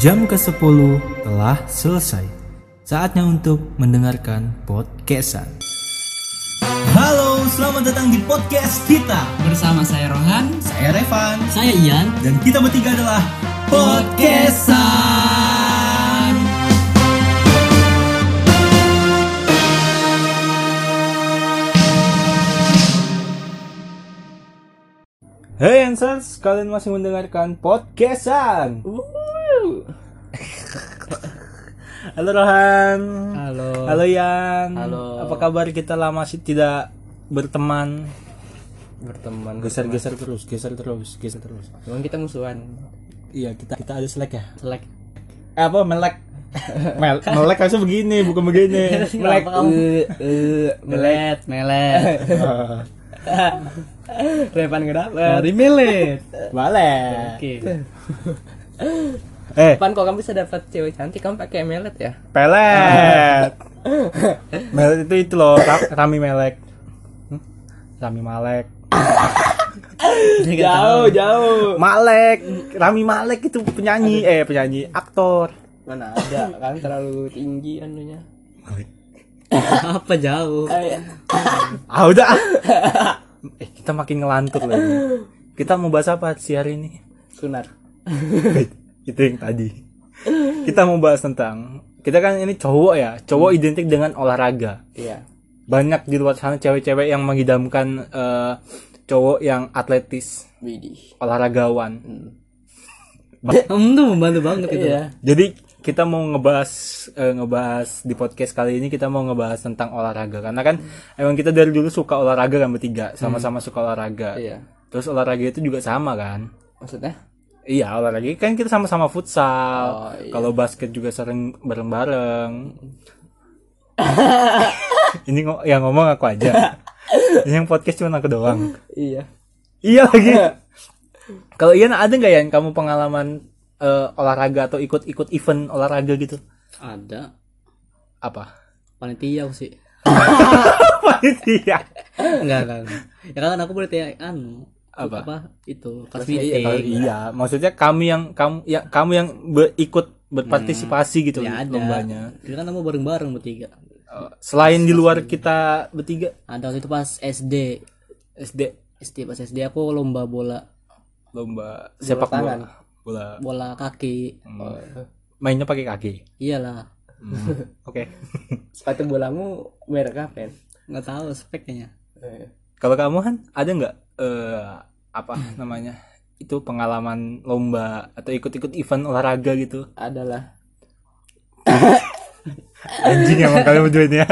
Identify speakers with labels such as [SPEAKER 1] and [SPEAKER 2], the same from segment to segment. [SPEAKER 1] Jam ke-10 telah selesai. Saatnya untuk mendengarkan podcastan. Halo, selamat datang di podcast kita.
[SPEAKER 2] Bersama saya Rohan,
[SPEAKER 1] Saya Revan
[SPEAKER 2] saya Ian,
[SPEAKER 1] dan kita bertiga adalah
[SPEAKER 2] podcastan.
[SPEAKER 1] Hey Answers, kalian masih mendengarkan podcastan. Halo Rohan.
[SPEAKER 2] Halo.
[SPEAKER 1] Halo Yan.
[SPEAKER 2] Halo.
[SPEAKER 1] Apa kabar? Kita lama sih tidak berteman.
[SPEAKER 2] Berteman.
[SPEAKER 1] Geser-geser terus, geser terus, geser terus.
[SPEAKER 2] Cuman kita musuhan.
[SPEAKER 1] Iya, kita kita ada selek ya.
[SPEAKER 2] Selek.
[SPEAKER 1] Eh, apa melek? Mel melek harusnya begini, bukan begini. melek.
[SPEAKER 2] Eh, eh, melet, melet.
[SPEAKER 1] eh.
[SPEAKER 2] Repan gak dapet.
[SPEAKER 3] Dari Melet.
[SPEAKER 1] Balek.
[SPEAKER 2] Oke.
[SPEAKER 1] Eh,
[SPEAKER 2] Pan kok kamu bisa dapat cewek cantik kamu pakai melet ya?
[SPEAKER 1] pelet. melet itu itu loh, ra- Rami Melek. Hmm? Rami Malek.
[SPEAKER 2] jauh, jauh.
[SPEAKER 1] Malek, Rami Malek itu penyanyi, eh penyanyi, aktor.
[SPEAKER 2] Mana ada? Kan terlalu tinggi anunya.
[SPEAKER 3] Apa jauh?
[SPEAKER 2] Eh, iya.
[SPEAKER 1] Ah udah. eh, kita makin ngelantur loh. ini. Kita mau bahas apa sih hari ini? Eh,
[SPEAKER 2] Sunar.
[SPEAKER 1] itu yang tadi. Kita mau bahas tentang kita kan ini cowok ya, cowok identik dengan olahraga.
[SPEAKER 2] Hmm. Iya.
[SPEAKER 1] Banyak di luar sana cewek-cewek yang mengidamkan eh, cowok yang atletis,
[SPEAKER 2] Widih. Hmm.
[SPEAKER 1] olahragawan.
[SPEAKER 3] Kamu tuh membantu banget gitu. itu.
[SPEAKER 2] Iya.
[SPEAKER 1] Jadi kita mau ngebahas eh, ngebahas di podcast kali ini kita mau ngebahas tentang olahraga karena kan
[SPEAKER 2] Hmm.
[SPEAKER 1] emang kita dari dulu suka olahraga kan bertiga sama-sama suka olahraga.
[SPEAKER 2] Iya.
[SPEAKER 1] Terus olahraga itu juga sama kan?
[SPEAKER 2] Maksudnya?
[SPEAKER 1] Iya olahraga kan kita sama-sama futsal.
[SPEAKER 2] Oh, iya.
[SPEAKER 1] Kalau basket juga sering bareng-bareng. Ini ngo- yang ngomong aku aja. yang podcast cuma aku doang.
[SPEAKER 2] Iya.
[SPEAKER 1] Iya lagi. Kalau Ian ada nggak ya kamu pengalaman eh, olahraga atau ikut-ikut event olahraga gitu?
[SPEAKER 3] Ada.
[SPEAKER 1] Apa?
[SPEAKER 3] Panitia aku sih.
[SPEAKER 1] Panitia.
[SPEAKER 3] Enggak, enggak. enggak. Ya kan aku boleh tanya anu.
[SPEAKER 1] Apa?
[SPEAKER 3] itu kelas
[SPEAKER 2] Kelas iya,
[SPEAKER 1] Kalau
[SPEAKER 3] meeting.
[SPEAKER 1] iya, maksudnya kamu yang kamu ya kamu yang berikut berpartisipasi gitu
[SPEAKER 3] Ya ada.
[SPEAKER 1] lombanya.
[SPEAKER 3] Itu kan kamu bareng-bareng bertiga.
[SPEAKER 1] Eh, Selain di luar kita bertiga
[SPEAKER 3] Ada waktu itu pas SD.
[SPEAKER 1] SD
[SPEAKER 3] SD pas SD aku lomba bola
[SPEAKER 1] lomba sepak bola.
[SPEAKER 2] tangan.
[SPEAKER 1] Bola.
[SPEAKER 3] bola kaki.
[SPEAKER 2] Oh.
[SPEAKER 1] Mainnya pakai kaki.
[SPEAKER 3] Iyalah.
[SPEAKER 1] Oke.
[SPEAKER 2] Sepatu bolamu merek apa? Pen?
[SPEAKER 3] Enggak tahu speknya.
[SPEAKER 2] Eh,
[SPEAKER 1] Kalau kamu kan ada nggak eh apa namanya? Itu pengalaman lomba atau ikut-ikut event olahraga gitu.
[SPEAKER 2] Adalah
[SPEAKER 1] Anjing emang kalian berdua ini ya.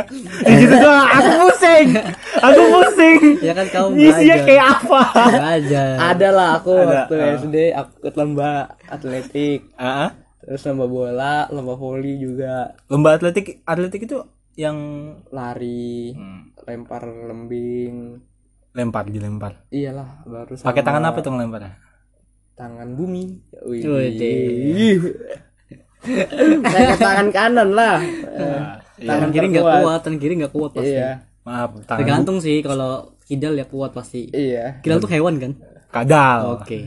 [SPEAKER 1] Ya gitu doang, aku pusing. Aku pusing.
[SPEAKER 3] Ya kan kamu
[SPEAKER 2] Iya, Nah,
[SPEAKER 1] Isinya
[SPEAKER 3] belajar.
[SPEAKER 1] kayak apa?
[SPEAKER 3] Belajar.
[SPEAKER 2] adalah aku
[SPEAKER 1] Ada,
[SPEAKER 2] waktu
[SPEAKER 1] ah.
[SPEAKER 2] SD aku ikut lomba atletik,
[SPEAKER 1] Heeh.
[SPEAKER 2] terus lomba bola, lomba voli juga,
[SPEAKER 1] Lomba atletik atletik itu yang
[SPEAKER 2] lari,
[SPEAKER 1] Hmm.
[SPEAKER 2] lempar lembing.
[SPEAKER 1] lempar dilempar.
[SPEAKER 2] Iyalah, baru sama
[SPEAKER 1] Pakai tangan apa tuh ngelemparnya?
[SPEAKER 2] Tangan bumi. Wih.
[SPEAKER 3] Wih.
[SPEAKER 2] Pakai tangan kanan lah.
[SPEAKER 1] Iya.
[SPEAKER 2] Eh,
[SPEAKER 3] Tangan kiri enggak kuat, tangan kiri enggak kuat pasti.
[SPEAKER 2] Iya.
[SPEAKER 1] Maaf, tangan
[SPEAKER 3] Tergantung sih kalau kidal ya kuat pasti.
[SPEAKER 2] Iya.
[SPEAKER 3] Kidal tuh hewan kan?
[SPEAKER 1] kadal.
[SPEAKER 3] Oke.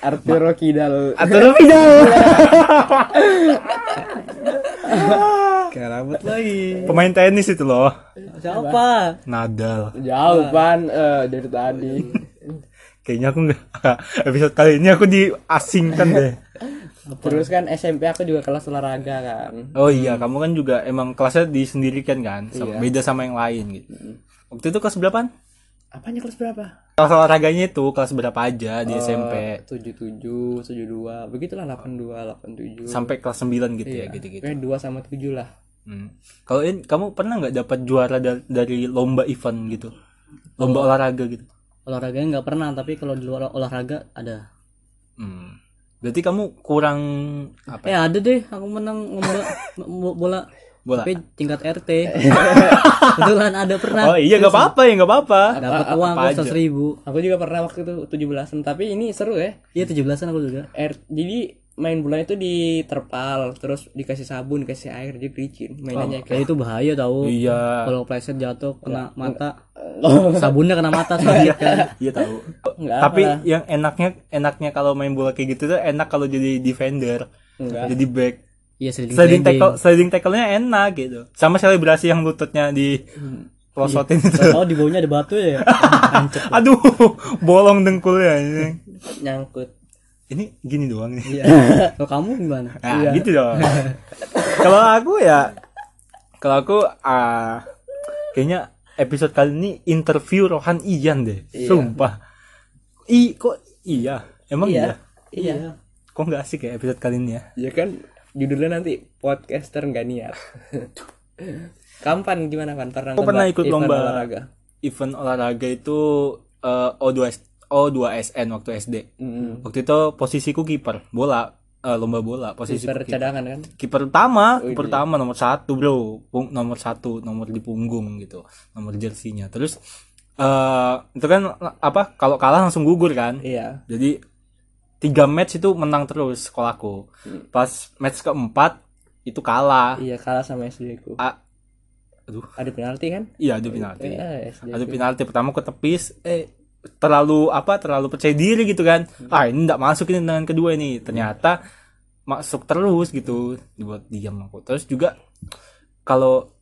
[SPEAKER 2] Arturo Kidal.
[SPEAKER 1] Atau lebih jauh.
[SPEAKER 3] Kerabut lagi.
[SPEAKER 1] Pemain tenis itu loh.
[SPEAKER 3] Siapa?
[SPEAKER 1] Nadal.
[SPEAKER 2] Jauh
[SPEAKER 1] Ah.
[SPEAKER 2] pan eh, dari tadi.
[SPEAKER 1] Kayaknya aku nggak episode kali ini aku diasingkan deh.
[SPEAKER 2] Terus kan SMP aku juga kelas olahraga kan.
[SPEAKER 1] Oh iya, kamu kan juga emang kelasnya disendirikan kan, sama, beda sama yang lain gitu. Waktu itu kelas berapaan?
[SPEAKER 2] Apanya kelas berapa?
[SPEAKER 1] Kelas olahraganya itu kelas berapa aja di SMP
[SPEAKER 2] tujuh tujuh tujuh dua begitulah delapan dua delapan tujuh
[SPEAKER 1] sampai kelas 9 gitu ya gitu-gitu.
[SPEAKER 2] kayak dua sama tujuh lah
[SPEAKER 1] Hmm. Kalau In, kamu pernah nggak dapat juara da- dari lomba event gitu? Lomba olahraga gitu.
[SPEAKER 3] Olahraganya nggak pernah, tapi kalau di luar olahraga ada.
[SPEAKER 1] Hmm. Berarti kamu kurang apa?
[SPEAKER 3] Eh ada deh, aku menang lomba bo- bola.
[SPEAKER 1] Bola.
[SPEAKER 3] Tapi tingkat RT. Kebetulan ada pernah.
[SPEAKER 1] Oh iya nggak apa-apa ya nggak apa-apa.
[SPEAKER 3] Dapat uang
[SPEAKER 1] apa
[SPEAKER 3] kok seribu.
[SPEAKER 2] aku juga pernah waktu itu tujuh belasan tapi ini seru ya
[SPEAKER 3] Iya 17-an aku juga.
[SPEAKER 2] Air- jadi main bola itu di terpal terus dikasih
[SPEAKER 1] Oh,
[SPEAKER 2] sabun dikasih air jadi licin mainannya
[SPEAKER 3] Kayak itu Ya, bahaya tau.
[SPEAKER 1] Iya.
[SPEAKER 3] Kalau pleset jatuh kena mata.
[SPEAKER 2] Eh,
[SPEAKER 3] sabunnya kena mata sakit kan
[SPEAKER 1] Iya tahu.
[SPEAKER 2] Enggak
[SPEAKER 1] Tapi
[SPEAKER 2] apa.
[SPEAKER 1] yang enaknya enaknya kalau main bola kayak gitu tuh enak kalau jadi defender.
[SPEAKER 2] Enggak.
[SPEAKER 1] Jadi back.
[SPEAKER 3] iya sliding
[SPEAKER 1] Sliding
[SPEAKER 3] sliding.
[SPEAKER 1] tackle sliding tackle-nya enak gitu. Sama selebrasi yang lututnya di pelosotin itu.
[SPEAKER 3] Nggak tahu di bawahnya ada batu ya Hmm. Iya. Hancur.
[SPEAKER 1] Aduh, bolong dengkulnya anjing.
[SPEAKER 2] nyangkut.
[SPEAKER 1] Ini gini doang nih.
[SPEAKER 3] Iya. Kalau kamu gimana?
[SPEAKER 1] Nah,
[SPEAKER 2] Iya.
[SPEAKER 1] gitu dong. kalau aku ya kalau aku ah, kayaknya episode kali ini interview Rohan Iyan deh.
[SPEAKER 2] Iya.
[SPEAKER 1] Sumpah. I kok iya? Emang iya?
[SPEAKER 2] Iya.
[SPEAKER 1] Kok nggak asik ya episode kali ini ya?
[SPEAKER 2] Ya kan judulnya nanti podcaster nggak niat. Kampan gimana kan pernah
[SPEAKER 1] Aku pernah ikut lomba.
[SPEAKER 2] olahraga?
[SPEAKER 1] Event olahraga itu eh, O2S O2SN waktu SD. Waktu itu posisiku kiper bola eh, lomba bola posisi
[SPEAKER 2] Kiper cadangan kan?
[SPEAKER 1] kiper utama,
[SPEAKER 2] Oh, iya.
[SPEAKER 1] kiper utama nomor satu bro, Pung- nomor satu, nomor di punggung gitu, nomor jersinya. Terus eh itu kan apa? Kalau kalah langsung gugur kan?
[SPEAKER 2] Iya.
[SPEAKER 1] Jadi tiga match itu menang terus sekolahku. Pas match keempat itu kalah.
[SPEAKER 2] Hmm. Iya kalah sama SD ku.
[SPEAKER 1] A- aduh,
[SPEAKER 2] Ada penalti kan?
[SPEAKER 1] iya ada penalti.
[SPEAKER 3] Ya,
[SPEAKER 2] Iya, SD.
[SPEAKER 1] Ada penalti pertama ke tepis, eh terlalu apa? Terlalu percaya diri gitu kan?
[SPEAKER 2] Hmm.
[SPEAKER 1] Ah ini nggak masuk ini dengan kedua ini. Ternyata masuk terus gitu dibuat diam aku terus juga kalau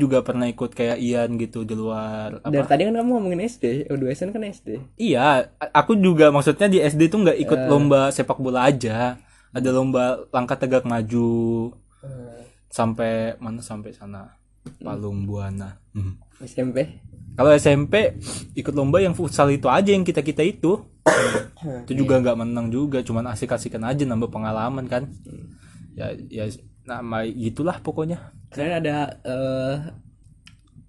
[SPEAKER 1] juga pernah ikut kayak Ian gitu di luar apa
[SPEAKER 2] Dari tadi kan kamu ngomongin SD, O2 SN kan SD.
[SPEAKER 1] iya a- aku juga maksudnya di SD tuh nggak
[SPEAKER 2] Eh.
[SPEAKER 1] ikut lomba sepak bola aja ada
[SPEAKER 2] Hmm.
[SPEAKER 1] lomba langkah tegak maju Eh. sampai mana sampai sana
[SPEAKER 2] Hmm.
[SPEAKER 1] Palung Buana Hmm.
[SPEAKER 2] SMP.
[SPEAKER 1] kalau SMP ikut lomba yang futsal itu aja yang kita kita itu itu juga nggak menang juga cuman asik-asikan aja nambah pengalaman kan ya ya nama gitulah pokoknya
[SPEAKER 2] Kalian ada eh,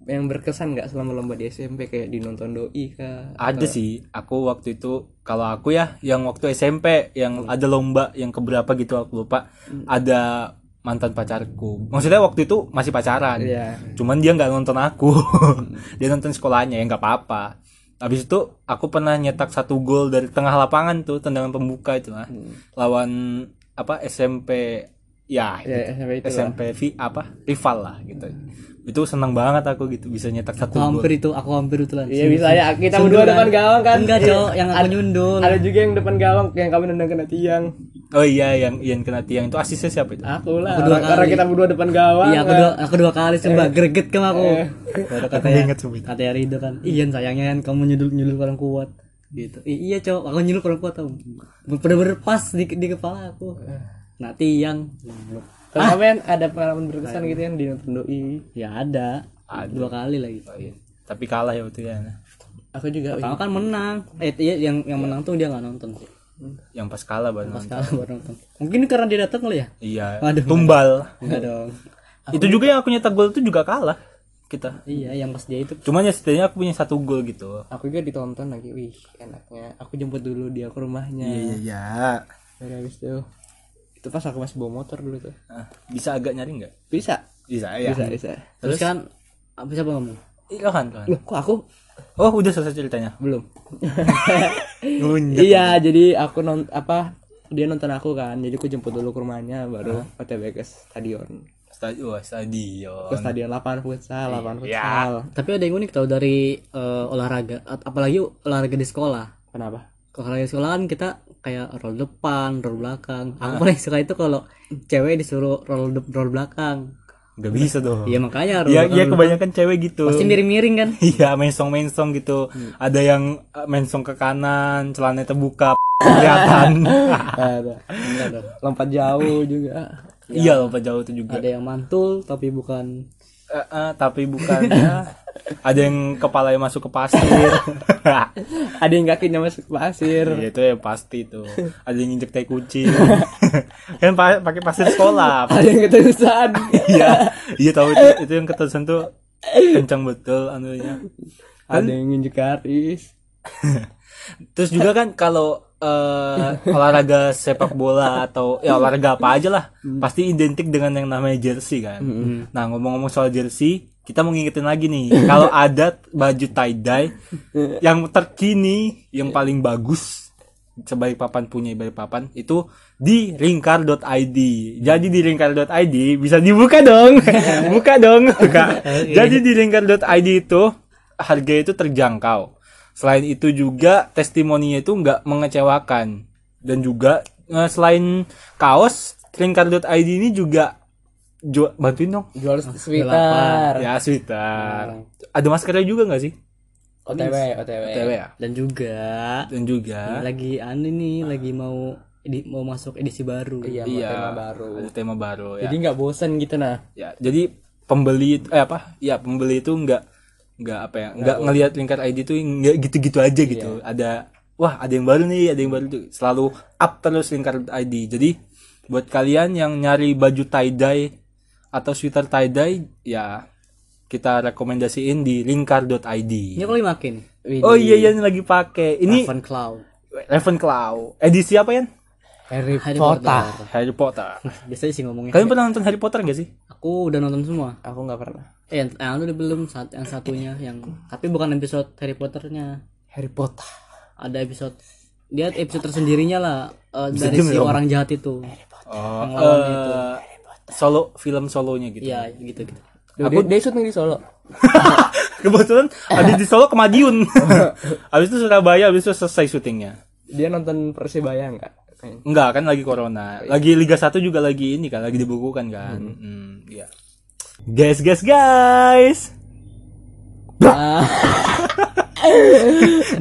[SPEAKER 2] yang berkesan nggak selama lomba di SMP kayak dinonton doi kah?
[SPEAKER 1] ada sih aku waktu itu kalau aku ya yang waktu SMP
[SPEAKER 2] Hmm.
[SPEAKER 1] yang ada lomba yang keberapa gitu aku lupa ada mantan pacarku maksudnya waktu itu masih pacaran
[SPEAKER 2] Iya.
[SPEAKER 1] cuman dia nggak nonton aku dia nonton sekolahnya ya nggak apa-apa habis itu aku pernah nyetak satu gol dari tengah lapangan tuh tendangan pembuka itu lah
[SPEAKER 2] Hmm.
[SPEAKER 1] lawan apa SMP ya
[SPEAKER 2] Ya, SMP itu lah.
[SPEAKER 1] SMP vi- apa rival lah gitu itu senang banget aku gitu bisa nyetak satu
[SPEAKER 3] Aku
[SPEAKER 1] gol
[SPEAKER 3] hampir itu, aku hampir itu lah.
[SPEAKER 2] Iya bisa ya kita berdua depan gawang kan?
[SPEAKER 3] Enggak, Cok, yang aku nyundul.
[SPEAKER 2] Ada juga yang depan gawang yang kami nendang kena tiang.
[SPEAKER 1] oh iya yang Ian kena tiang itu asisnya siapa itu
[SPEAKER 2] Aku lah.
[SPEAKER 3] dua
[SPEAKER 2] Orang, orang
[SPEAKER 3] kali.
[SPEAKER 2] kita berdua depan gawang.
[SPEAKER 3] Iya, aku dua, aku dua kali coba
[SPEAKER 2] Eh.
[SPEAKER 3] greget kan aku. Baru katanya,
[SPEAKER 1] ingat sumpah itu.
[SPEAKER 3] katanya Rido kan, Ian sayangnya kan kamu nyundul nyundul orang kuat. Gitu. I- iya, Cok, aku nyundul orang kuat tau. Bener-bener pas di, di kepala aku.
[SPEAKER 2] Eh.
[SPEAKER 3] Nah, tiang.
[SPEAKER 2] Kalau kalian Nah, ada pengalaman berkesan gitu kan dinonton doi.
[SPEAKER 3] Ya ada. Dua kali lagi.
[SPEAKER 1] tapi kalah ya waktu itu ya
[SPEAKER 2] Aku juga.
[SPEAKER 3] Pertama kan menang. Eh, iya, yang yang menang tuh dia nggak nonton sih.
[SPEAKER 1] yang pas kalah baru nonton.
[SPEAKER 3] Sekarang baru nonton. Mungkin karena dia datang kali ya?
[SPEAKER 1] iya
[SPEAKER 3] Waduh.
[SPEAKER 1] tumbal
[SPEAKER 3] Enggak dong.
[SPEAKER 1] itu juga yang aku nyetak gol itu juga kalah kita
[SPEAKER 3] Iya, yang pas dia itu
[SPEAKER 1] cuman ya setidaknya aku punya satu gol gitu
[SPEAKER 2] Aku juga ditonton lagi. Wih, enaknya. Aku jemput dulu dia ke rumahnya.
[SPEAKER 1] iya
[SPEAKER 2] Dari habis itu itu pas aku masih bawa motor dulu tuh.
[SPEAKER 1] Ah, bisa agak nyari nggak
[SPEAKER 2] Bisa.
[SPEAKER 1] bisa ya
[SPEAKER 2] Bisa, bisa.
[SPEAKER 3] Terus, kan apa siapa kamu?
[SPEAKER 1] Ih, Rohan, Rohan.
[SPEAKER 2] Loh, kok aku
[SPEAKER 1] oh udah selesai ceritanya
[SPEAKER 2] belum?
[SPEAKER 1] Ngelunjak.
[SPEAKER 2] iya, jadi aku non apa dia nonton aku kan. Jadi aku jemput dulu ke rumahnya baru OTW ke stadion.
[SPEAKER 1] Stadion, wah, stadion.
[SPEAKER 2] Ke stadion lapangan futsal, lapangan
[SPEAKER 1] Iya.
[SPEAKER 2] futsal.
[SPEAKER 3] Tapi ada yang unik tau dari eh, olahraga, At- apalagi olahraga di sekolah.
[SPEAKER 2] Kenapa?
[SPEAKER 3] Kalau olahraga di sekolah kan kita kayak roll depan, roll belakang.
[SPEAKER 2] Ah.
[SPEAKER 3] Aku paling suka itu kalau cewek disuruh roll de- roll belakang.
[SPEAKER 1] Gak bisa dong.
[SPEAKER 3] Iya makanya
[SPEAKER 2] Ya,
[SPEAKER 3] roll.
[SPEAKER 1] Iya,
[SPEAKER 3] belakang,
[SPEAKER 1] iya
[SPEAKER 3] roll
[SPEAKER 1] kebanyakan cewek gitu.
[SPEAKER 3] belakang. Pasti miring-miring kan?
[SPEAKER 1] Iya, mensong-mensong gitu.
[SPEAKER 2] Hmm.
[SPEAKER 1] Ada yang eh, mensong ke kanan, celananya terbuka, kelihatan.
[SPEAKER 2] Ada. Lompat jauh juga.
[SPEAKER 1] Iya, lompat jauh itu juga.
[SPEAKER 3] Ada yang mantul tapi bukan
[SPEAKER 1] Eh, eh, tapi bukan ya. Ada yang kepalanya masuk ke pasir.
[SPEAKER 2] Ada yang kakinya masuk ke pasir.
[SPEAKER 1] Iya, itu ya pasti tuh. Ada yang injek tai kucing. kan pa- pakai pasir sekolah.
[SPEAKER 2] Ada yang keterusan.
[SPEAKER 1] Iya, iya tahu itu, itu yang keterusan tuh kencang betul anunya.
[SPEAKER 2] Ada yang nginjek garis.
[SPEAKER 1] Terus juga kan kalau eh, olahraga sepak bola atau ya olahraga apa aja lah pasti identik dengan yang namanya jersey kan. Nah ngomong-ngomong soal jersey, kita mau ngingetin lagi nih kalau ada baju tie dye yang terkini, yang paling bagus sebaik papan punya baik papan itu di ringkar.id. Jadi di ringkar.id bisa dibuka dong. buka dong. Buka. Jadi di ringkar.id itu harganya itu terjangkau. Selain itu juga testimoninya itu nggak mengecewakan dan juga eh, selain kaos ringkar.id ini juga jual bantuin dong
[SPEAKER 2] Jual sweater.
[SPEAKER 1] ya sweater. Ada maskernya juga nggak sih?
[SPEAKER 2] OTW, OTW.
[SPEAKER 1] TW ya.
[SPEAKER 3] Dan juga
[SPEAKER 1] Dan juga
[SPEAKER 3] lagi anu nih lagi mau edi- mau masuk edisi baru.
[SPEAKER 2] Iya,
[SPEAKER 1] iya,
[SPEAKER 2] tema baru.
[SPEAKER 1] ada tema baru ya.
[SPEAKER 2] Jadi nggak bosen gitu nah.
[SPEAKER 1] ya jadi pembeli itu- eh apa ya pembeli itu nggak nggak apa ya nggak ngelihat lingkar ID itu nggak gitu-gitu aja gitu ada wah ada yang baru nih ada yang baru tuh selalu up terus lingkar ID jadi buat kalian yang nyari baju tie dye atau sweater tie dye ya kita rekomendasiin di lingkar.id
[SPEAKER 3] Ini aku lagi pakai nih.
[SPEAKER 1] oh iya iya ini lagi pakai ini
[SPEAKER 3] Raven Cloud.
[SPEAKER 1] Ravenclaw edisi apa ya
[SPEAKER 2] Harry
[SPEAKER 3] Harry
[SPEAKER 2] Potter.
[SPEAKER 1] Harry Potter
[SPEAKER 3] Biasanya sih ngomongnya.
[SPEAKER 1] kalian pernah nonton Harry Potter gak sih
[SPEAKER 3] Aku udah nonton semua.
[SPEAKER 2] Aku nggak pernah.
[SPEAKER 3] Eh, yang, yang itu udah belum saat yang satunya yang tapi bukan episode Harry Potternya.
[SPEAKER 2] Harry Potter.
[SPEAKER 3] Ada episode dia episode tersendirinya lah eh, dari si orang jahat itu.
[SPEAKER 1] oh,
[SPEAKER 3] Yang lawan itu.
[SPEAKER 1] eh, solo film solonya gitu
[SPEAKER 3] Iya, gitu gitu.
[SPEAKER 2] Aku dia, syuting di Solo.
[SPEAKER 1] Kebetulan ada di Solo ke Madiun. habis itu Surabaya, habis itu selesai syutingnya.
[SPEAKER 2] Dia nonton Persibaya nggak? Kayaknya.
[SPEAKER 1] Enggak kan lagi corona.
[SPEAKER 3] Iya.
[SPEAKER 1] Lagi Liga 1 juga lagi ini kan, lagi dibukukan kan. Hmm, iya. Guys, guys, guys. Ah.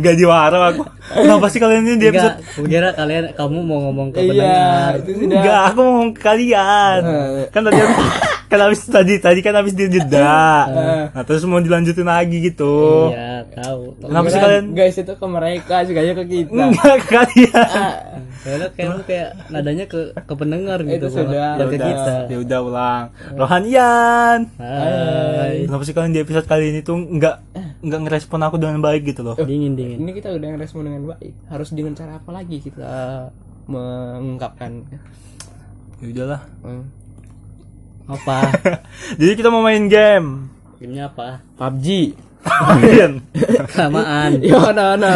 [SPEAKER 1] Gak diwara aku. Kenapa sih kalian ini di episode?
[SPEAKER 3] Enggak, aku kira kalian kamu mau ngomong ke pendengar.
[SPEAKER 2] Iya, itu sudah.
[SPEAKER 1] Enggak, aku mau ngomong ke kalian.
[SPEAKER 3] Nah, iya.
[SPEAKER 1] Kan tadi aku kan habis tadi tadi kan habis dia jeda. Nah, terus mau dilanjutin lagi gitu.
[SPEAKER 3] Ah. Iya, tahu.
[SPEAKER 1] Kenapa sih kalian?
[SPEAKER 2] Guys itu ke mereka juga ke kita.
[SPEAKER 1] Enggak ke kalian.
[SPEAKER 3] Soalnya kayak lu kayak nadanya ke ke pendengar gitu.
[SPEAKER 2] Eh, Itu sudah.
[SPEAKER 3] bukan ke
[SPEAKER 1] udah,
[SPEAKER 3] kita.
[SPEAKER 1] ya udah ulang. Rohanian.
[SPEAKER 3] Hai.
[SPEAKER 1] Kenapa sih kalian di episode kali ini tuh nggak nggak ngerespon aku dengan baik gitu loh?
[SPEAKER 3] Dingin dingin.
[SPEAKER 2] Ini kita udah ngerespon dengan baik. Harus dengan cara apa lagi kita mengungkapkan?
[SPEAKER 1] Ya udahlah.
[SPEAKER 2] Hmm.
[SPEAKER 3] Apa?
[SPEAKER 1] Jadi kita mau main game.
[SPEAKER 3] Gamenya apa?
[SPEAKER 2] PUBG.
[SPEAKER 1] Main.
[SPEAKER 3] Kelamaan.
[SPEAKER 2] Yo, Iya, no, no.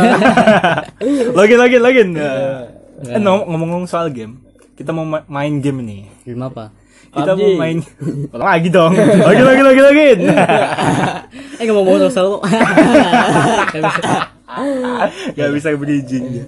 [SPEAKER 1] login login login.
[SPEAKER 3] Iya.
[SPEAKER 1] Eh, ngom- ngomong-ngomong soal game, kita mau ma- main game nih.
[SPEAKER 3] Game apa?
[SPEAKER 1] Kita
[SPEAKER 2] PUBG.
[SPEAKER 1] mau main Ulang lagi dong. Login login login login.
[SPEAKER 3] Eh nggak mau ngomong soal
[SPEAKER 1] Gak bisa berizin dia.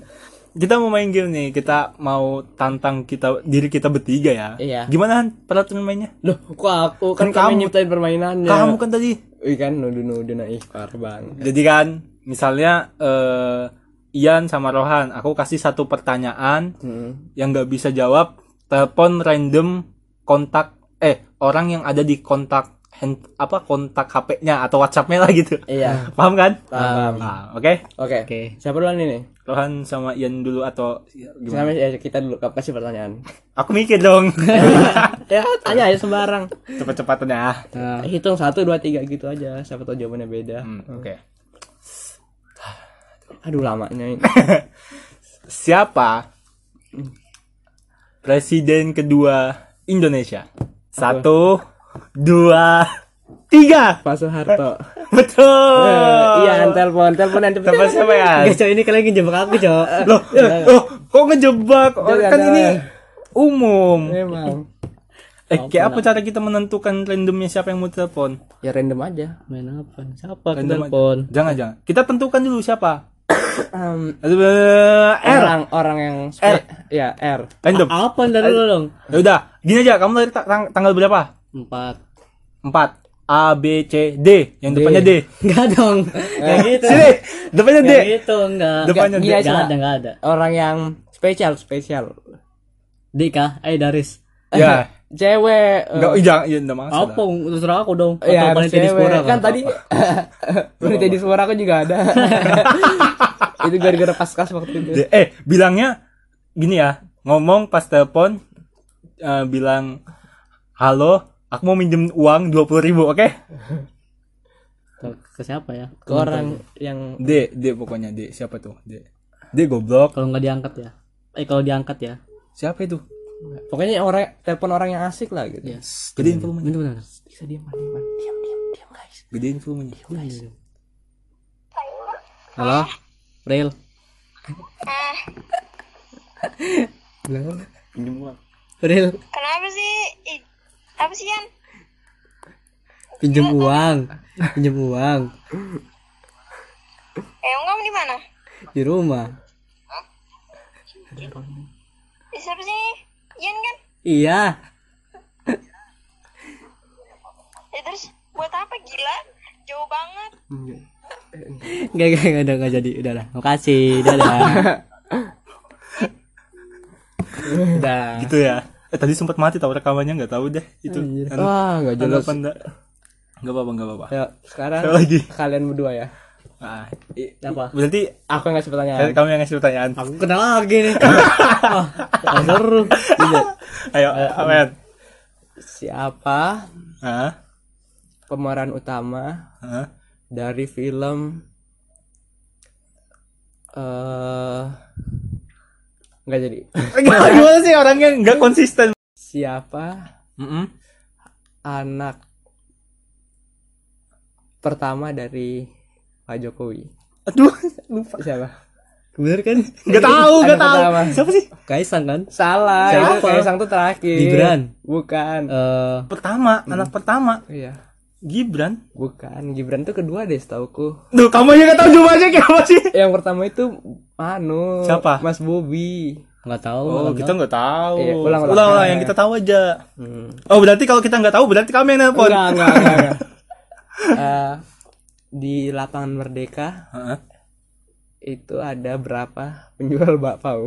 [SPEAKER 1] Kita mau main game nih. Kita mau tantang kita diri kita bertiga ya.
[SPEAKER 2] Iya.
[SPEAKER 1] Gimana Han, peraturan mainnya?
[SPEAKER 2] Loh, kok aku
[SPEAKER 1] Kan
[SPEAKER 2] kan,
[SPEAKER 1] kamu.
[SPEAKER 2] kamu nyiptain permainannya.
[SPEAKER 1] Kamu kan tadi
[SPEAKER 2] Wih kan nudu-nudu nah ikhbar bang.
[SPEAKER 1] Jadi kan misalnya eh, Ian sama Rohan, aku kasih satu pertanyaan yang nggak bisa jawab, telepon random kontak eh orang yang ada di kontak hand, apa kontak HP-nya atau WhatsApp-nya lah gitu.
[SPEAKER 2] Iya.
[SPEAKER 1] Paham kan?
[SPEAKER 2] Paham.
[SPEAKER 1] Nah, oke.
[SPEAKER 2] Oke.
[SPEAKER 3] Oke.
[SPEAKER 2] Siapa duluan ini?
[SPEAKER 1] Rohan sama Ian dulu atau gimana?
[SPEAKER 2] Sama ya, kita dulu Kap, kasih pertanyaan.
[SPEAKER 1] Aku mikir dong.
[SPEAKER 2] ya, tanya aja sembarang.
[SPEAKER 1] Cepet-cepetan ya.
[SPEAKER 2] Nah, Hitung satu, dua, tiga gitu aja. Siapa tahu jawabannya beda.
[SPEAKER 1] Hmm, oke.
[SPEAKER 2] Aduh lamanya ini.
[SPEAKER 1] Siapa presiden kedua Indonesia? Satu, dua, tiga.
[SPEAKER 2] Pak Soeharto.
[SPEAKER 1] Betul.
[SPEAKER 2] Eh, Iya, telepon, telepon yang cepet.
[SPEAKER 1] Siapa siapa ya?
[SPEAKER 3] Guys, cowok ini kalian ngejebak aku, cowok.
[SPEAKER 1] Loh, eh, loh, kok ngejebak? Oh,
[SPEAKER 2] Jangan,
[SPEAKER 1] kan
[SPEAKER 2] jangan.
[SPEAKER 1] ini umum.
[SPEAKER 2] Memang.
[SPEAKER 1] Eh, kayak apa cara kita menentukan randomnya siapa yang mau telepon?
[SPEAKER 2] Ya random aja.
[SPEAKER 3] Main apa? Siapa aku
[SPEAKER 1] Random aja.
[SPEAKER 3] telepon?
[SPEAKER 1] Jangan jangan. Kita tentukan dulu siapa.
[SPEAKER 2] Em,
[SPEAKER 1] Aduh, R.
[SPEAKER 2] orang orang yang
[SPEAKER 1] R.
[SPEAKER 2] Ya, R.
[SPEAKER 1] Random.
[SPEAKER 3] Apa dari lu dong?
[SPEAKER 1] Ya udah, gini aja. Kamu lahir ta- tang- tanggal berapa?
[SPEAKER 3] Empat.
[SPEAKER 1] Empat. A B C D. Yang depannya D.
[SPEAKER 3] Enggak dong. Enggak gitu.
[SPEAKER 1] Eh, Sini, depannya D.
[SPEAKER 3] Enggak gitu, enggak.
[SPEAKER 1] Depannya
[SPEAKER 2] Gila,
[SPEAKER 3] Enggak
[SPEAKER 2] Cila.
[SPEAKER 3] ada, enggak ada.
[SPEAKER 2] Orang yang spesial, spesial.
[SPEAKER 3] Dika, eh Daris.
[SPEAKER 1] Ya.
[SPEAKER 2] Cewek. eh,
[SPEAKER 1] Enggak, jangan, ya enggak masalah.
[SPEAKER 3] Apa? Terserah aku dong.
[SPEAKER 2] Ya,
[SPEAKER 3] Atau
[SPEAKER 2] harus
[SPEAKER 3] panitia di
[SPEAKER 2] cewek.
[SPEAKER 3] Spora,
[SPEAKER 2] kan
[SPEAKER 3] kalau
[SPEAKER 2] tadi wanita di suara aku juga ada. itu gara-gara paskas waktu itu.
[SPEAKER 1] D- Eh, bilangnya gini ya, ngomong pas telepon eh, bilang halo, aku mau minjem uang 20.000 ribu, oke?
[SPEAKER 3] apa-apa. Ke- ke siapa ya?
[SPEAKER 2] Ke orang yang
[SPEAKER 1] D, D pokoknya D. Siapa tuh? D. D goblok.
[SPEAKER 3] Kalau enggak diangkat ya. Eh kalau diangkat ya.
[SPEAKER 1] Siapa itu?
[SPEAKER 2] pokoknya orang telepon orang yang asik lah gitu.
[SPEAKER 1] Gedein volumenya.
[SPEAKER 3] Bentar, bentar.
[SPEAKER 2] Bisa diam diam diam diam diam guys.
[SPEAKER 1] Gedein volumenya.
[SPEAKER 3] Halo? Real.
[SPEAKER 1] Minjem uang.
[SPEAKER 3] Real,
[SPEAKER 4] Kenapa sih? Ih, Apa sih Yan?
[SPEAKER 3] pinjam uang. Pinjam uang.
[SPEAKER 4] Eyong Eh, kamu di mana?
[SPEAKER 3] di rumah
[SPEAKER 4] Di siapa sih? Ian kan?
[SPEAKER 3] iya
[SPEAKER 4] Ya terus buat apa gila? Jauh banget.
[SPEAKER 3] nggak nggak nggak, udah nggak jadi udah lah makasih dadah udah
[SPEAKER 1] gitu ya eh, tadi sempat mati tahu rekamannya nggak tahu deh
[SPEAKER 2] Eh.
[SPEAKER 1] itu An-
[SPEAKER 2] Wah, nggak jelas.
[SPEAKER 1] anggapan nggak nggak apa-apa nggak apa-apa
[SPEAKER 2] Ayo, sekarang
[SPEAKER 1] Sekali lagi.
[SPEAKER 2] kalian berdua ya.
[SPEAKER 1] Ah,
[SPEAKER 3] apa
[SPEAKER 1] berarti
[SPEAKER 2] Aku yang ngasih pertanyaan.
[SPEAKER 1] eh, kamu yang ngasih pertanyaan
[SPEAKER 3] aku kenal lagi nih Wah, nggak seru
[SPEAKER 1] ayo Awen
[SPEAKER 2] Siapa
[SPEAKER 1] Hah?
[SPEAKER 2] pemeran utama
[SPEAKER 1] Hah?
[SPEAKER 2] dari film eh nggak jadi.
[SPEAKER 1] gimana sih orangnya nggak konsisten
[SPEAKER 2] Siapa
[SPEAKER 1] Mm-mm.
[SPEAKER 2] anak pertama dari Pak Jokowi?
[SPEAKER 1] aduh
[SPEAKER 2] Siapa?
[SPEAKER 3] bener kan
[SPEAKER 1] nggak tahu nggak
[SPEAKER 2] Anak
[SPEAKER 1] tahu
[SPEAKER 2] pertama.
[SPEAKER 1] siapa sih
[SPEAKER 3] kaisang kan
[SPEAKER 2] Salah,
[SPEAKER 3] Siapa?
[SPEAKER 2] itu Kaisang tuh terakhir.
[SPEAKER 3] Gibran.
[SPEAKER 2] Bukan.
[SPEAKER 3] Eh,
[SPEAKER 1] pertama anak pertama
[SPEAKER 2] Iya.
[SPEAKER 1] Gibran
[SPEAKER 2] Bukan, Gibran tuh kedua deh setauku.
[SPEAKER 1] Duh, kamu yang gak tahu jawabannya kayak apa sih?
[SPEAKER 2] Yang pertama itu anu
[SPEAKER 1] Siapa?
[SPEAKER 2] Mas Bobi.
[SPEAKER 3] nggak tahu
[SPEAKER 1] Oh,
[SPEAKER 3] nggak
[SPEAKER 1] kita nggak tahu.
[SPEAKER 2] Iya,
[SPEAKER 1] ulang, ulang,
[SPEAKER 2] ulang,
[SPEAKER 1] Nah,
[SPEAKER 2] ulang.
[SPEAKER 1] yang kita tahu aja. Oh, berarti kalau kita nggak tahu, berarti kamu yang nelpon.
[SPEAKER 2] Enggak, enggak, enggak. enggak. Eh, di lapangan Merdeka
[SPEAKER 1] Heeh.
[SPEAKER 2] itu ada berapa penjual bakpau?
[SPEAKER 3] tahu.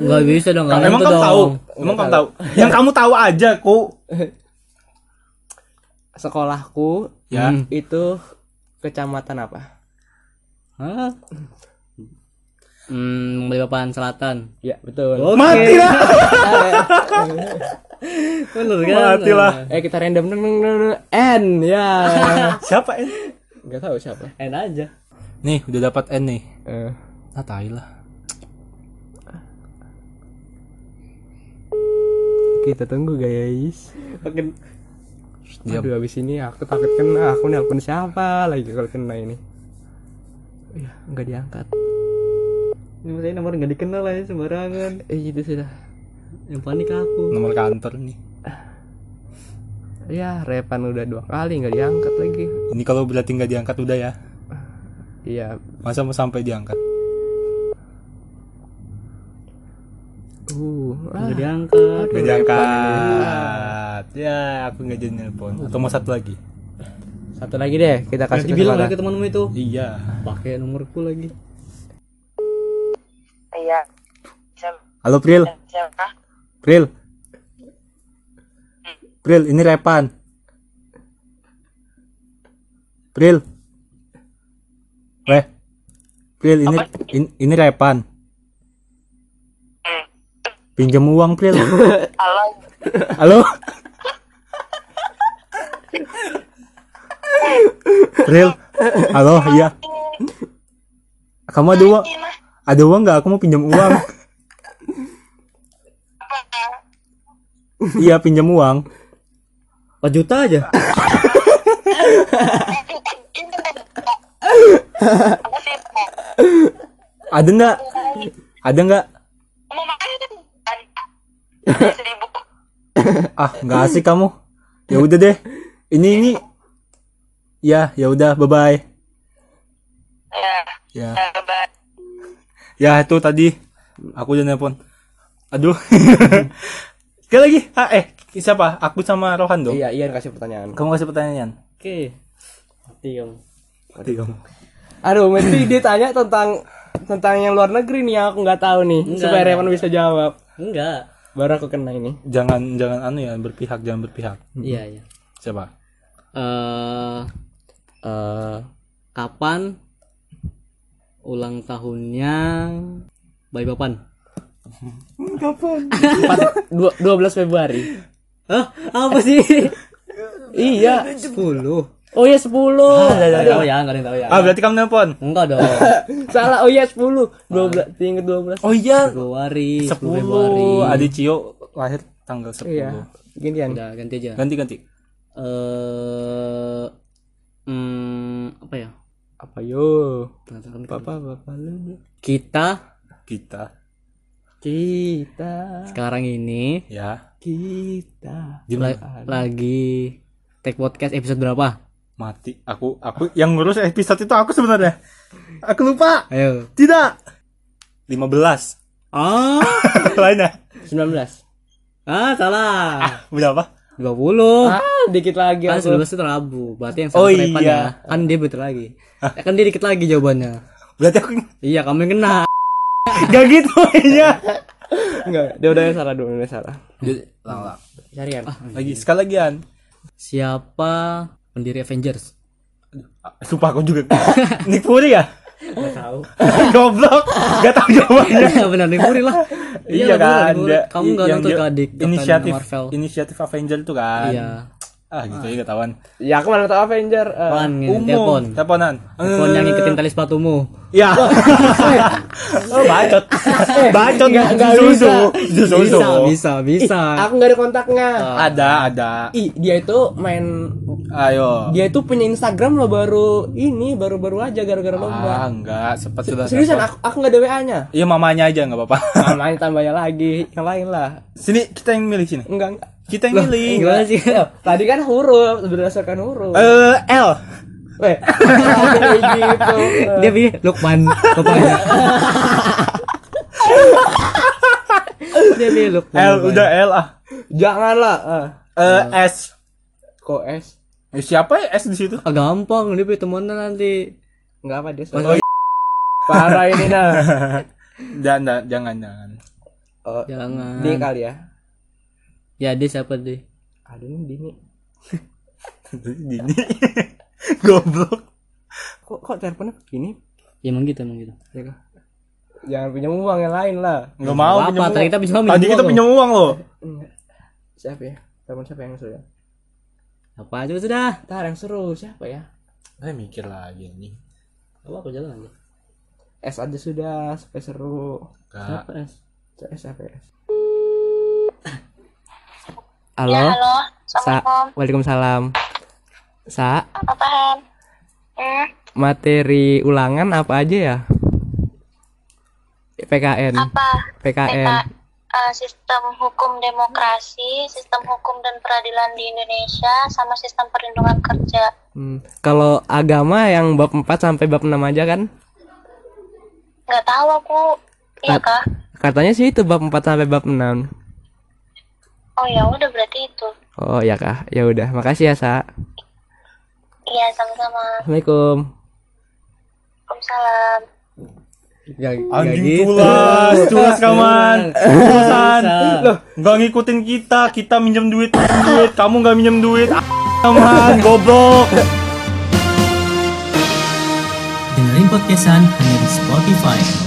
[SPEAKER 3] nggak bisa dong nggak
[SPEAKER 1] Emang
[SPEAKER 3] itu
[SPEAKER 1] kamu
[SPEAKER 3] dong
[SPEAKER 1] tahu? Emang kamu tahu? Yang kamu tahu aja, ku.
[SPEAKER 2] Sekolahku
[SPEAKER 1] Ya.
[SPEAKER 2] itu kecamatan apa?
[SPEAKER 3] Hah? Hmm, beli papan selatan.
[SPEAKER 2] Ya, betul.
[SPEAKER 3] Oke.
[SPEAKER 1] Mati lah.
[SPEAKER 3] Bener kan?
[SPEAKER 1] Mati lah.
[SPEAKER 2] Eh, kita random deng deng deng deng. N ya.
[SPEAKER 1] Siapa N?
[SPEAKER 2] Enggak tahu siapa.
[SPEAKER 3] Eh, Enak aja.
[SPEAKER 1] Nih, udah dapat N nih.
[SPEAKER 2] Eh,
[SPEAKER 1] Nah, tai lah.
[SPEAKER 2] kita tunggu guys.
[SPEAKER 3] Makin
[SPEAKER 1] Diam.
[SPEAKER 2] Aduh habis ini aku takut kena Aku nelpon siapa lagi kalau kena ini Ya nggak diangkat
[SPEAKER 3] ini saya nomor nggak dikenal lah ya sembarangan.
[SPEAKER 2] Eh itu sudah
[SPEAKER 3] Yang panik aku.
[SPEAKER 1] Nomor kantor nih.
[SPEAKER 2] Ya Repan udah dua kali nggak diangkat lagi
[SPEAKER 1] Ini kalau berarti nggak diangkat udah ya.
[SPEAKER 2] Iya
[SPEAKER 1] Masa mau sampai diangkat?
[SPEAKER 2] uh, ah,
[SPEAKER 3] Nggak diangkat.
[SPEAKER 1] Nggak diangkat. Ya, aku nggak jadi nelpon. Atau mau satu lagi?
[SPEAKER 2] Satu lagi deh kita kasih
[SPEAKER 3] Kasih bilang lagi
[SPEAKER 2] kesempatan
[SPEAKER 3] ke temanmu itu.
[SPEAKER 1] Iya.
[SPEAKER 3] Pakai nomorku lagi.
[SPEAKER 4] Iya. Siapa?
[SPEAKER 1] Halo, Pril.
[SPEAKER 4] Siapa?
[SPEAKER 1] Pril. Pril, ini Repan. Pril. Weh. Pril, ini in- ini Repan. Pinjam uang, Pril.
[SPEAKER 4] Halo.
[SPEAKER 1] Halo. Pril. Halo, iya. Kamu ada uang?
[SPEAKER 4] Ini mah
[SPEAKER 1] Ada uang nggak? Aku mau pinjam uang.
[SPEAKER 4] apa?
[SPEAKER 1] iya, pinjam uang.
[SPEAKER 3] 4 juta aja.
[SPEAKER 4] Apa sih? Pak?
[SPEAKER 1] Ada nggak? Ada nggak?
[SPEAKER 4] Mau makan kan? Ada Seribu.
[SPEAKER 1] ah nggak asik kamu ya udah deh ini ini ya ya udah bye bye
[SPEAKER 4] Ya.
[SPEAKER 1] ya
[SPEAKER 4] ya, Bye.
[SPEAKER 1] ya itu tadi aku udah nelpon aduh sekali lagi ah, eh siapa aku sama Rohan dong
[SPEAKER 2] Iya Ian kasih pertanyaan
[SPEAKER 1] kamu kasih pertanyaan
[SPEAKER 3] Oke. Tiam.
[SPEAKER 1] Mati kamu.
[SPEAKER 2] Aduh mesti dia tanya tentang Tentang yang luar negeri nih yang aku nggak tahu nih Supaya Repan bisa jawab
[SPEAKER 3] Enggak.
[SPEAKER 2] Baru aku kena ini
[SPEAKER 1] jangan jangan anu ya berpihak jangan berpihak
[SPEAKER 3] Iya, iya.
[SPEAKER 1] siapa
[SPEAKER 3] Eh eh, kapan ulang tahunnya Bayi Papan?
[SPEAKER 2] Dua, 12 Februari
[SPEAKER 3] Hah? Apa sih?
[SPEAKER 2] Iya
[SPEAKER 3] 10.
[SPEAKER 2] Oh ya 10
[SPEAKER 3] Enggak ada yang tahu ya, enggak ada yang tahu ya.
[SPEAKER 1] ah berarti kamu nelpon
[SPEAKER 3] Enggak dong.
[SPEAKER 2] Salah oh ya 10 12 Tinggal 12
[SPEAKER 1] oh iya
[SPEAKER 3] Februari, 10 Februari.
[SPEAKER 1] sepuluh adik Cio lahir tanggal 10
[SPEAKER 2] Iya Gini Ian
[SPEAKER 3] Udah ganti aja. Eh
[SPEAKER 1] ganti ganti
[SPEAKER 3] hmm, apa ya?
[SPEAKER 2] Apa yo?
[SPEAKER 3] Tengah tengah-
[SPEAKER 2] Papa, papa lu.
[SPEAKER 3] Kita
[SPEAKER 1] kita
[SPEAKER 2] Kita,
[SPEAKER 3] sekarang ini
[SPEAKER 1] ya
[SPEAKER 2] kita.
[SPEAKER 1] Jumlah-
[SPEAKER 3] lagi take podcast episode berapa?
[SPEAKER 1] mati aku aku yang ngurus episode itu aku sebenarnya Aku lupa.
[SPEAKER 3] Ayo.
[SPEAKER 1] Tidak. 15.
[SPEAKER 3] Ah,
[SPEAKER 1] Lainnya.
[SPEAKER 2] 19
[SPEAKER 3] ah salah.
[SPEAKER 1] Berapa?
[SPEAKER 3] 20.
[SPEAKER 2] ah dikit lagi
[SPEAKER 3] Kan
[SPEAKER 2] aku
[SPEAKER 3] 19 itu Rabu, berarti yang
[SPEAKER 1] Ya, Oh,
[SPEAKER 3] sama prepan
[SPEAKER 1] iya.
[SPEAKER 3] ya. Kan dia betul lagi. Ya, kan dia dikit lagi jawabannya.
[SPEAKER 1] Berarti aku
[SPEAKER 3] Iya, kamu yang kena.
[SPEAKER 1] gak gitu ya.
[SPEAKER 2] enggak dia udah salah dulu udah salah cari
[SPEAKER 1] ya.
[SPEAKER 2] kan
[SPEAKER 1] Lagi sekali lagi An.
[SPEAKER 3] Ah, Siapa pendiri Avengers?
[SPEAKER 1] Sumpah aku juga. Nick Fury ya?
[SPEAKER 2] enggak tahu
[SPEAKER 1] Goblok. Gak tahu jawabannya.
[SPEAKER 3] Iya benar Nick Fury lah.
[SPEAKER 1] Iya
[SPEAKER 3] lah, benar,
[SPEAKER 1] kan,
[SPEAKER 3] Nick Fury.
[SPEAKER 1] dia,
[SPEAKER 3] Kamu nggak
[SPEAKER 1] yang
[SPEAKER 3] nonton
[SPEAKER 1] dia-
[SPEAKER 3] kan di Captain
[SPEAKER 1] inisiatif
[SPEAKER 3] Marvel?
[SPEAKER 1] inisiatif Avenger tuh kan.
[SPEAKER 3] Iya.
[SPEAKER 1] Ah gitu ya ketahuan.
[SPEAKER 2] ya aku mana tahu Avenger eh.
[SPEAKER 3] Apaan ini? Telepon.
[SPEAKER 1] Umum. Teleponan. Eh.
[SPEAKER 3] Telepon yang ngikutin tali sepatumu.
[SPEAKER 1] Ya. oh, bacot. bacot
[SPEAKER 2] nggak- nggak
[SPEAKER 1] Zuzu. Zuzu.
[SPEAKER 3] Bisa, bisa, bisa.
[SPEAKER 2] aku nggak Ah. ada kontaknya
[SPEAKER 1] Ada, ada.
[SPEAKER 2] Ih, dia itu main
[SPEAKER 1] Ayo.
[SPEAKER 2] dia itu punya Instagram lo baru ini baru-baru aja gara-gara lomba.
[SPEAKER 1] Ah, enggak, sempat sudah.
[SPEAKER 2] Seriusan aku aku nggak ada WA-nya.
[SPEAKER 1] Iya mamanya aja nggak apa-apa.
[SPEAKER 2] Namanya tambahnya lagi, yang lain lah.
[SPEAKER 1] Sini kita yang milih sini.
[SPEAKER 2] Enggak, enggak.
[SPEAKER 1] Kita yang
[SPEAKER 2] Iya.
[SPEAKER 1] milih.
[SPEAKER 3] Gimana sih?
[SPEAKER 2] Tadi kan huruf, berdasarkan huruf. Eh.
[SPEAKER 1] Eh, L.
[SPEAKER 2] Weh, kayak gitu.
[SPEAKER 1] Iya.
[SPEAKER 3] Dia pilih Lukman. Lukman. Dia pilih Lukman.
[SPEAKER 1] L
[SPEAKER 3] Lukman.
[SPEAKER 1] udah L ah.
[SPEAKER 2] Janganlah. ah.
[SPEAKER 1] Eh, S.
[SPEAKER 2] Kok S?
[SPEAKER 1] Eh, siapa ya S di situ?
[SPEAKER 3] Ah, gampang dia pilih temennya nanti.
[SPEAKER 2] Enggak apa dia. salah. Parah ini nah.
[SPEAKER 1] Dan, dan jangan jangan.
[SPEAKER 2] Oh,
[SPEAKER 3] Jangan.
[SPEAKER 2] D kali ya.
[SPEAKER 3] Ya dia siapa deh?
[SPEAKER 2] Aduh, ini Dini.
[SPEAKER 1] Dini. Goblok.
[SPEAKER 2] Kok kok teleponnya begini?
[SPEAKER 3] Ya emang gitu emang gitu.
[SPEAKER 2] Ya, Kak. Jangan punya uang yang lain lah.
[SPEAKER 1] Enggak mau
[SPEAKER 3] Apa,
[SPEAKER 1] pinjam uang.
[SPEAKER 3] tadi kita pinjam uang,
[SPEAKER 1] Tadi
[SPEAKER 3] pinjam
[SPEAKER 1] kita
[SPEAKER 3] uang
[SPEAKER 1] pinjam uang loh.
[SPEAKER 2] Hmm. Siapa ya? Telepon siapa yang suruh? ya?
[SPEAKER 3] Apa aja sudah?
[SPEAKER 2] Ntar yang suruh siapa ya?
[SPEAKER 1] Saya mikir lagi anjing.
[SPEAKER 3] Apa aku jalan aja.
[SPEAKER 2] S aja sudah, supaya seru.
[SPEAKER 1] Enggak.
[SPEAKER 2] S apa ya?
[SPEAKER 4] Ya,
[SPEAKER 2] Halo,
[SPEAKER 4] halo.
[SPEAKER 2] Sa.
[SPEAKER 4] Assalamualaikum.
[SPEAKER 2] Waalaikumsalam. Sa,
[SPEAKER 4] Apaan? Hmm,
[SPEAKER 2] materi ulangan apa aja ya? PKN,
[SPEAKER 4] apa?
[SPEAKER 2] PKN.
[SPEAKER 4] PK, eh, sistem hukum demokrasi, sistem hukum dan peradilan di Indonesia, sama sistem perlindungan kerja.
[SPEAKER 2] Hmm, Kalau agama yang bab 4 sampai bab 6 aja kan?
[SPEAKER 4] Nggak tahu aku. Iya kah?
[SPEAKER 2] Katanya sih itu bab 4 sampai bab 6.
[SPEAKER 4] Oh ya udah berarti itu.
[SPEAKER 2] Oh ya kah? Ya udah, makasih ya, Sa.
[SPEAKER 4] Iya sama-sama.
[SPEAKER 2] Assalamualaikum.
[SPEAKER 4] Waalaikumsalam.
[SPEAKER 3] Gak,
[SPEAKER 1] Anjing Iya gitu. culas, culas kaman. Culasan. Loh, enggak ngikutin kita, kita minjem duit, minjem duit, kamu enggak minjem duit. Ah, Kaman, goblok.
[SPEAKER 5] Dengerin podcastan hanya di Spotify.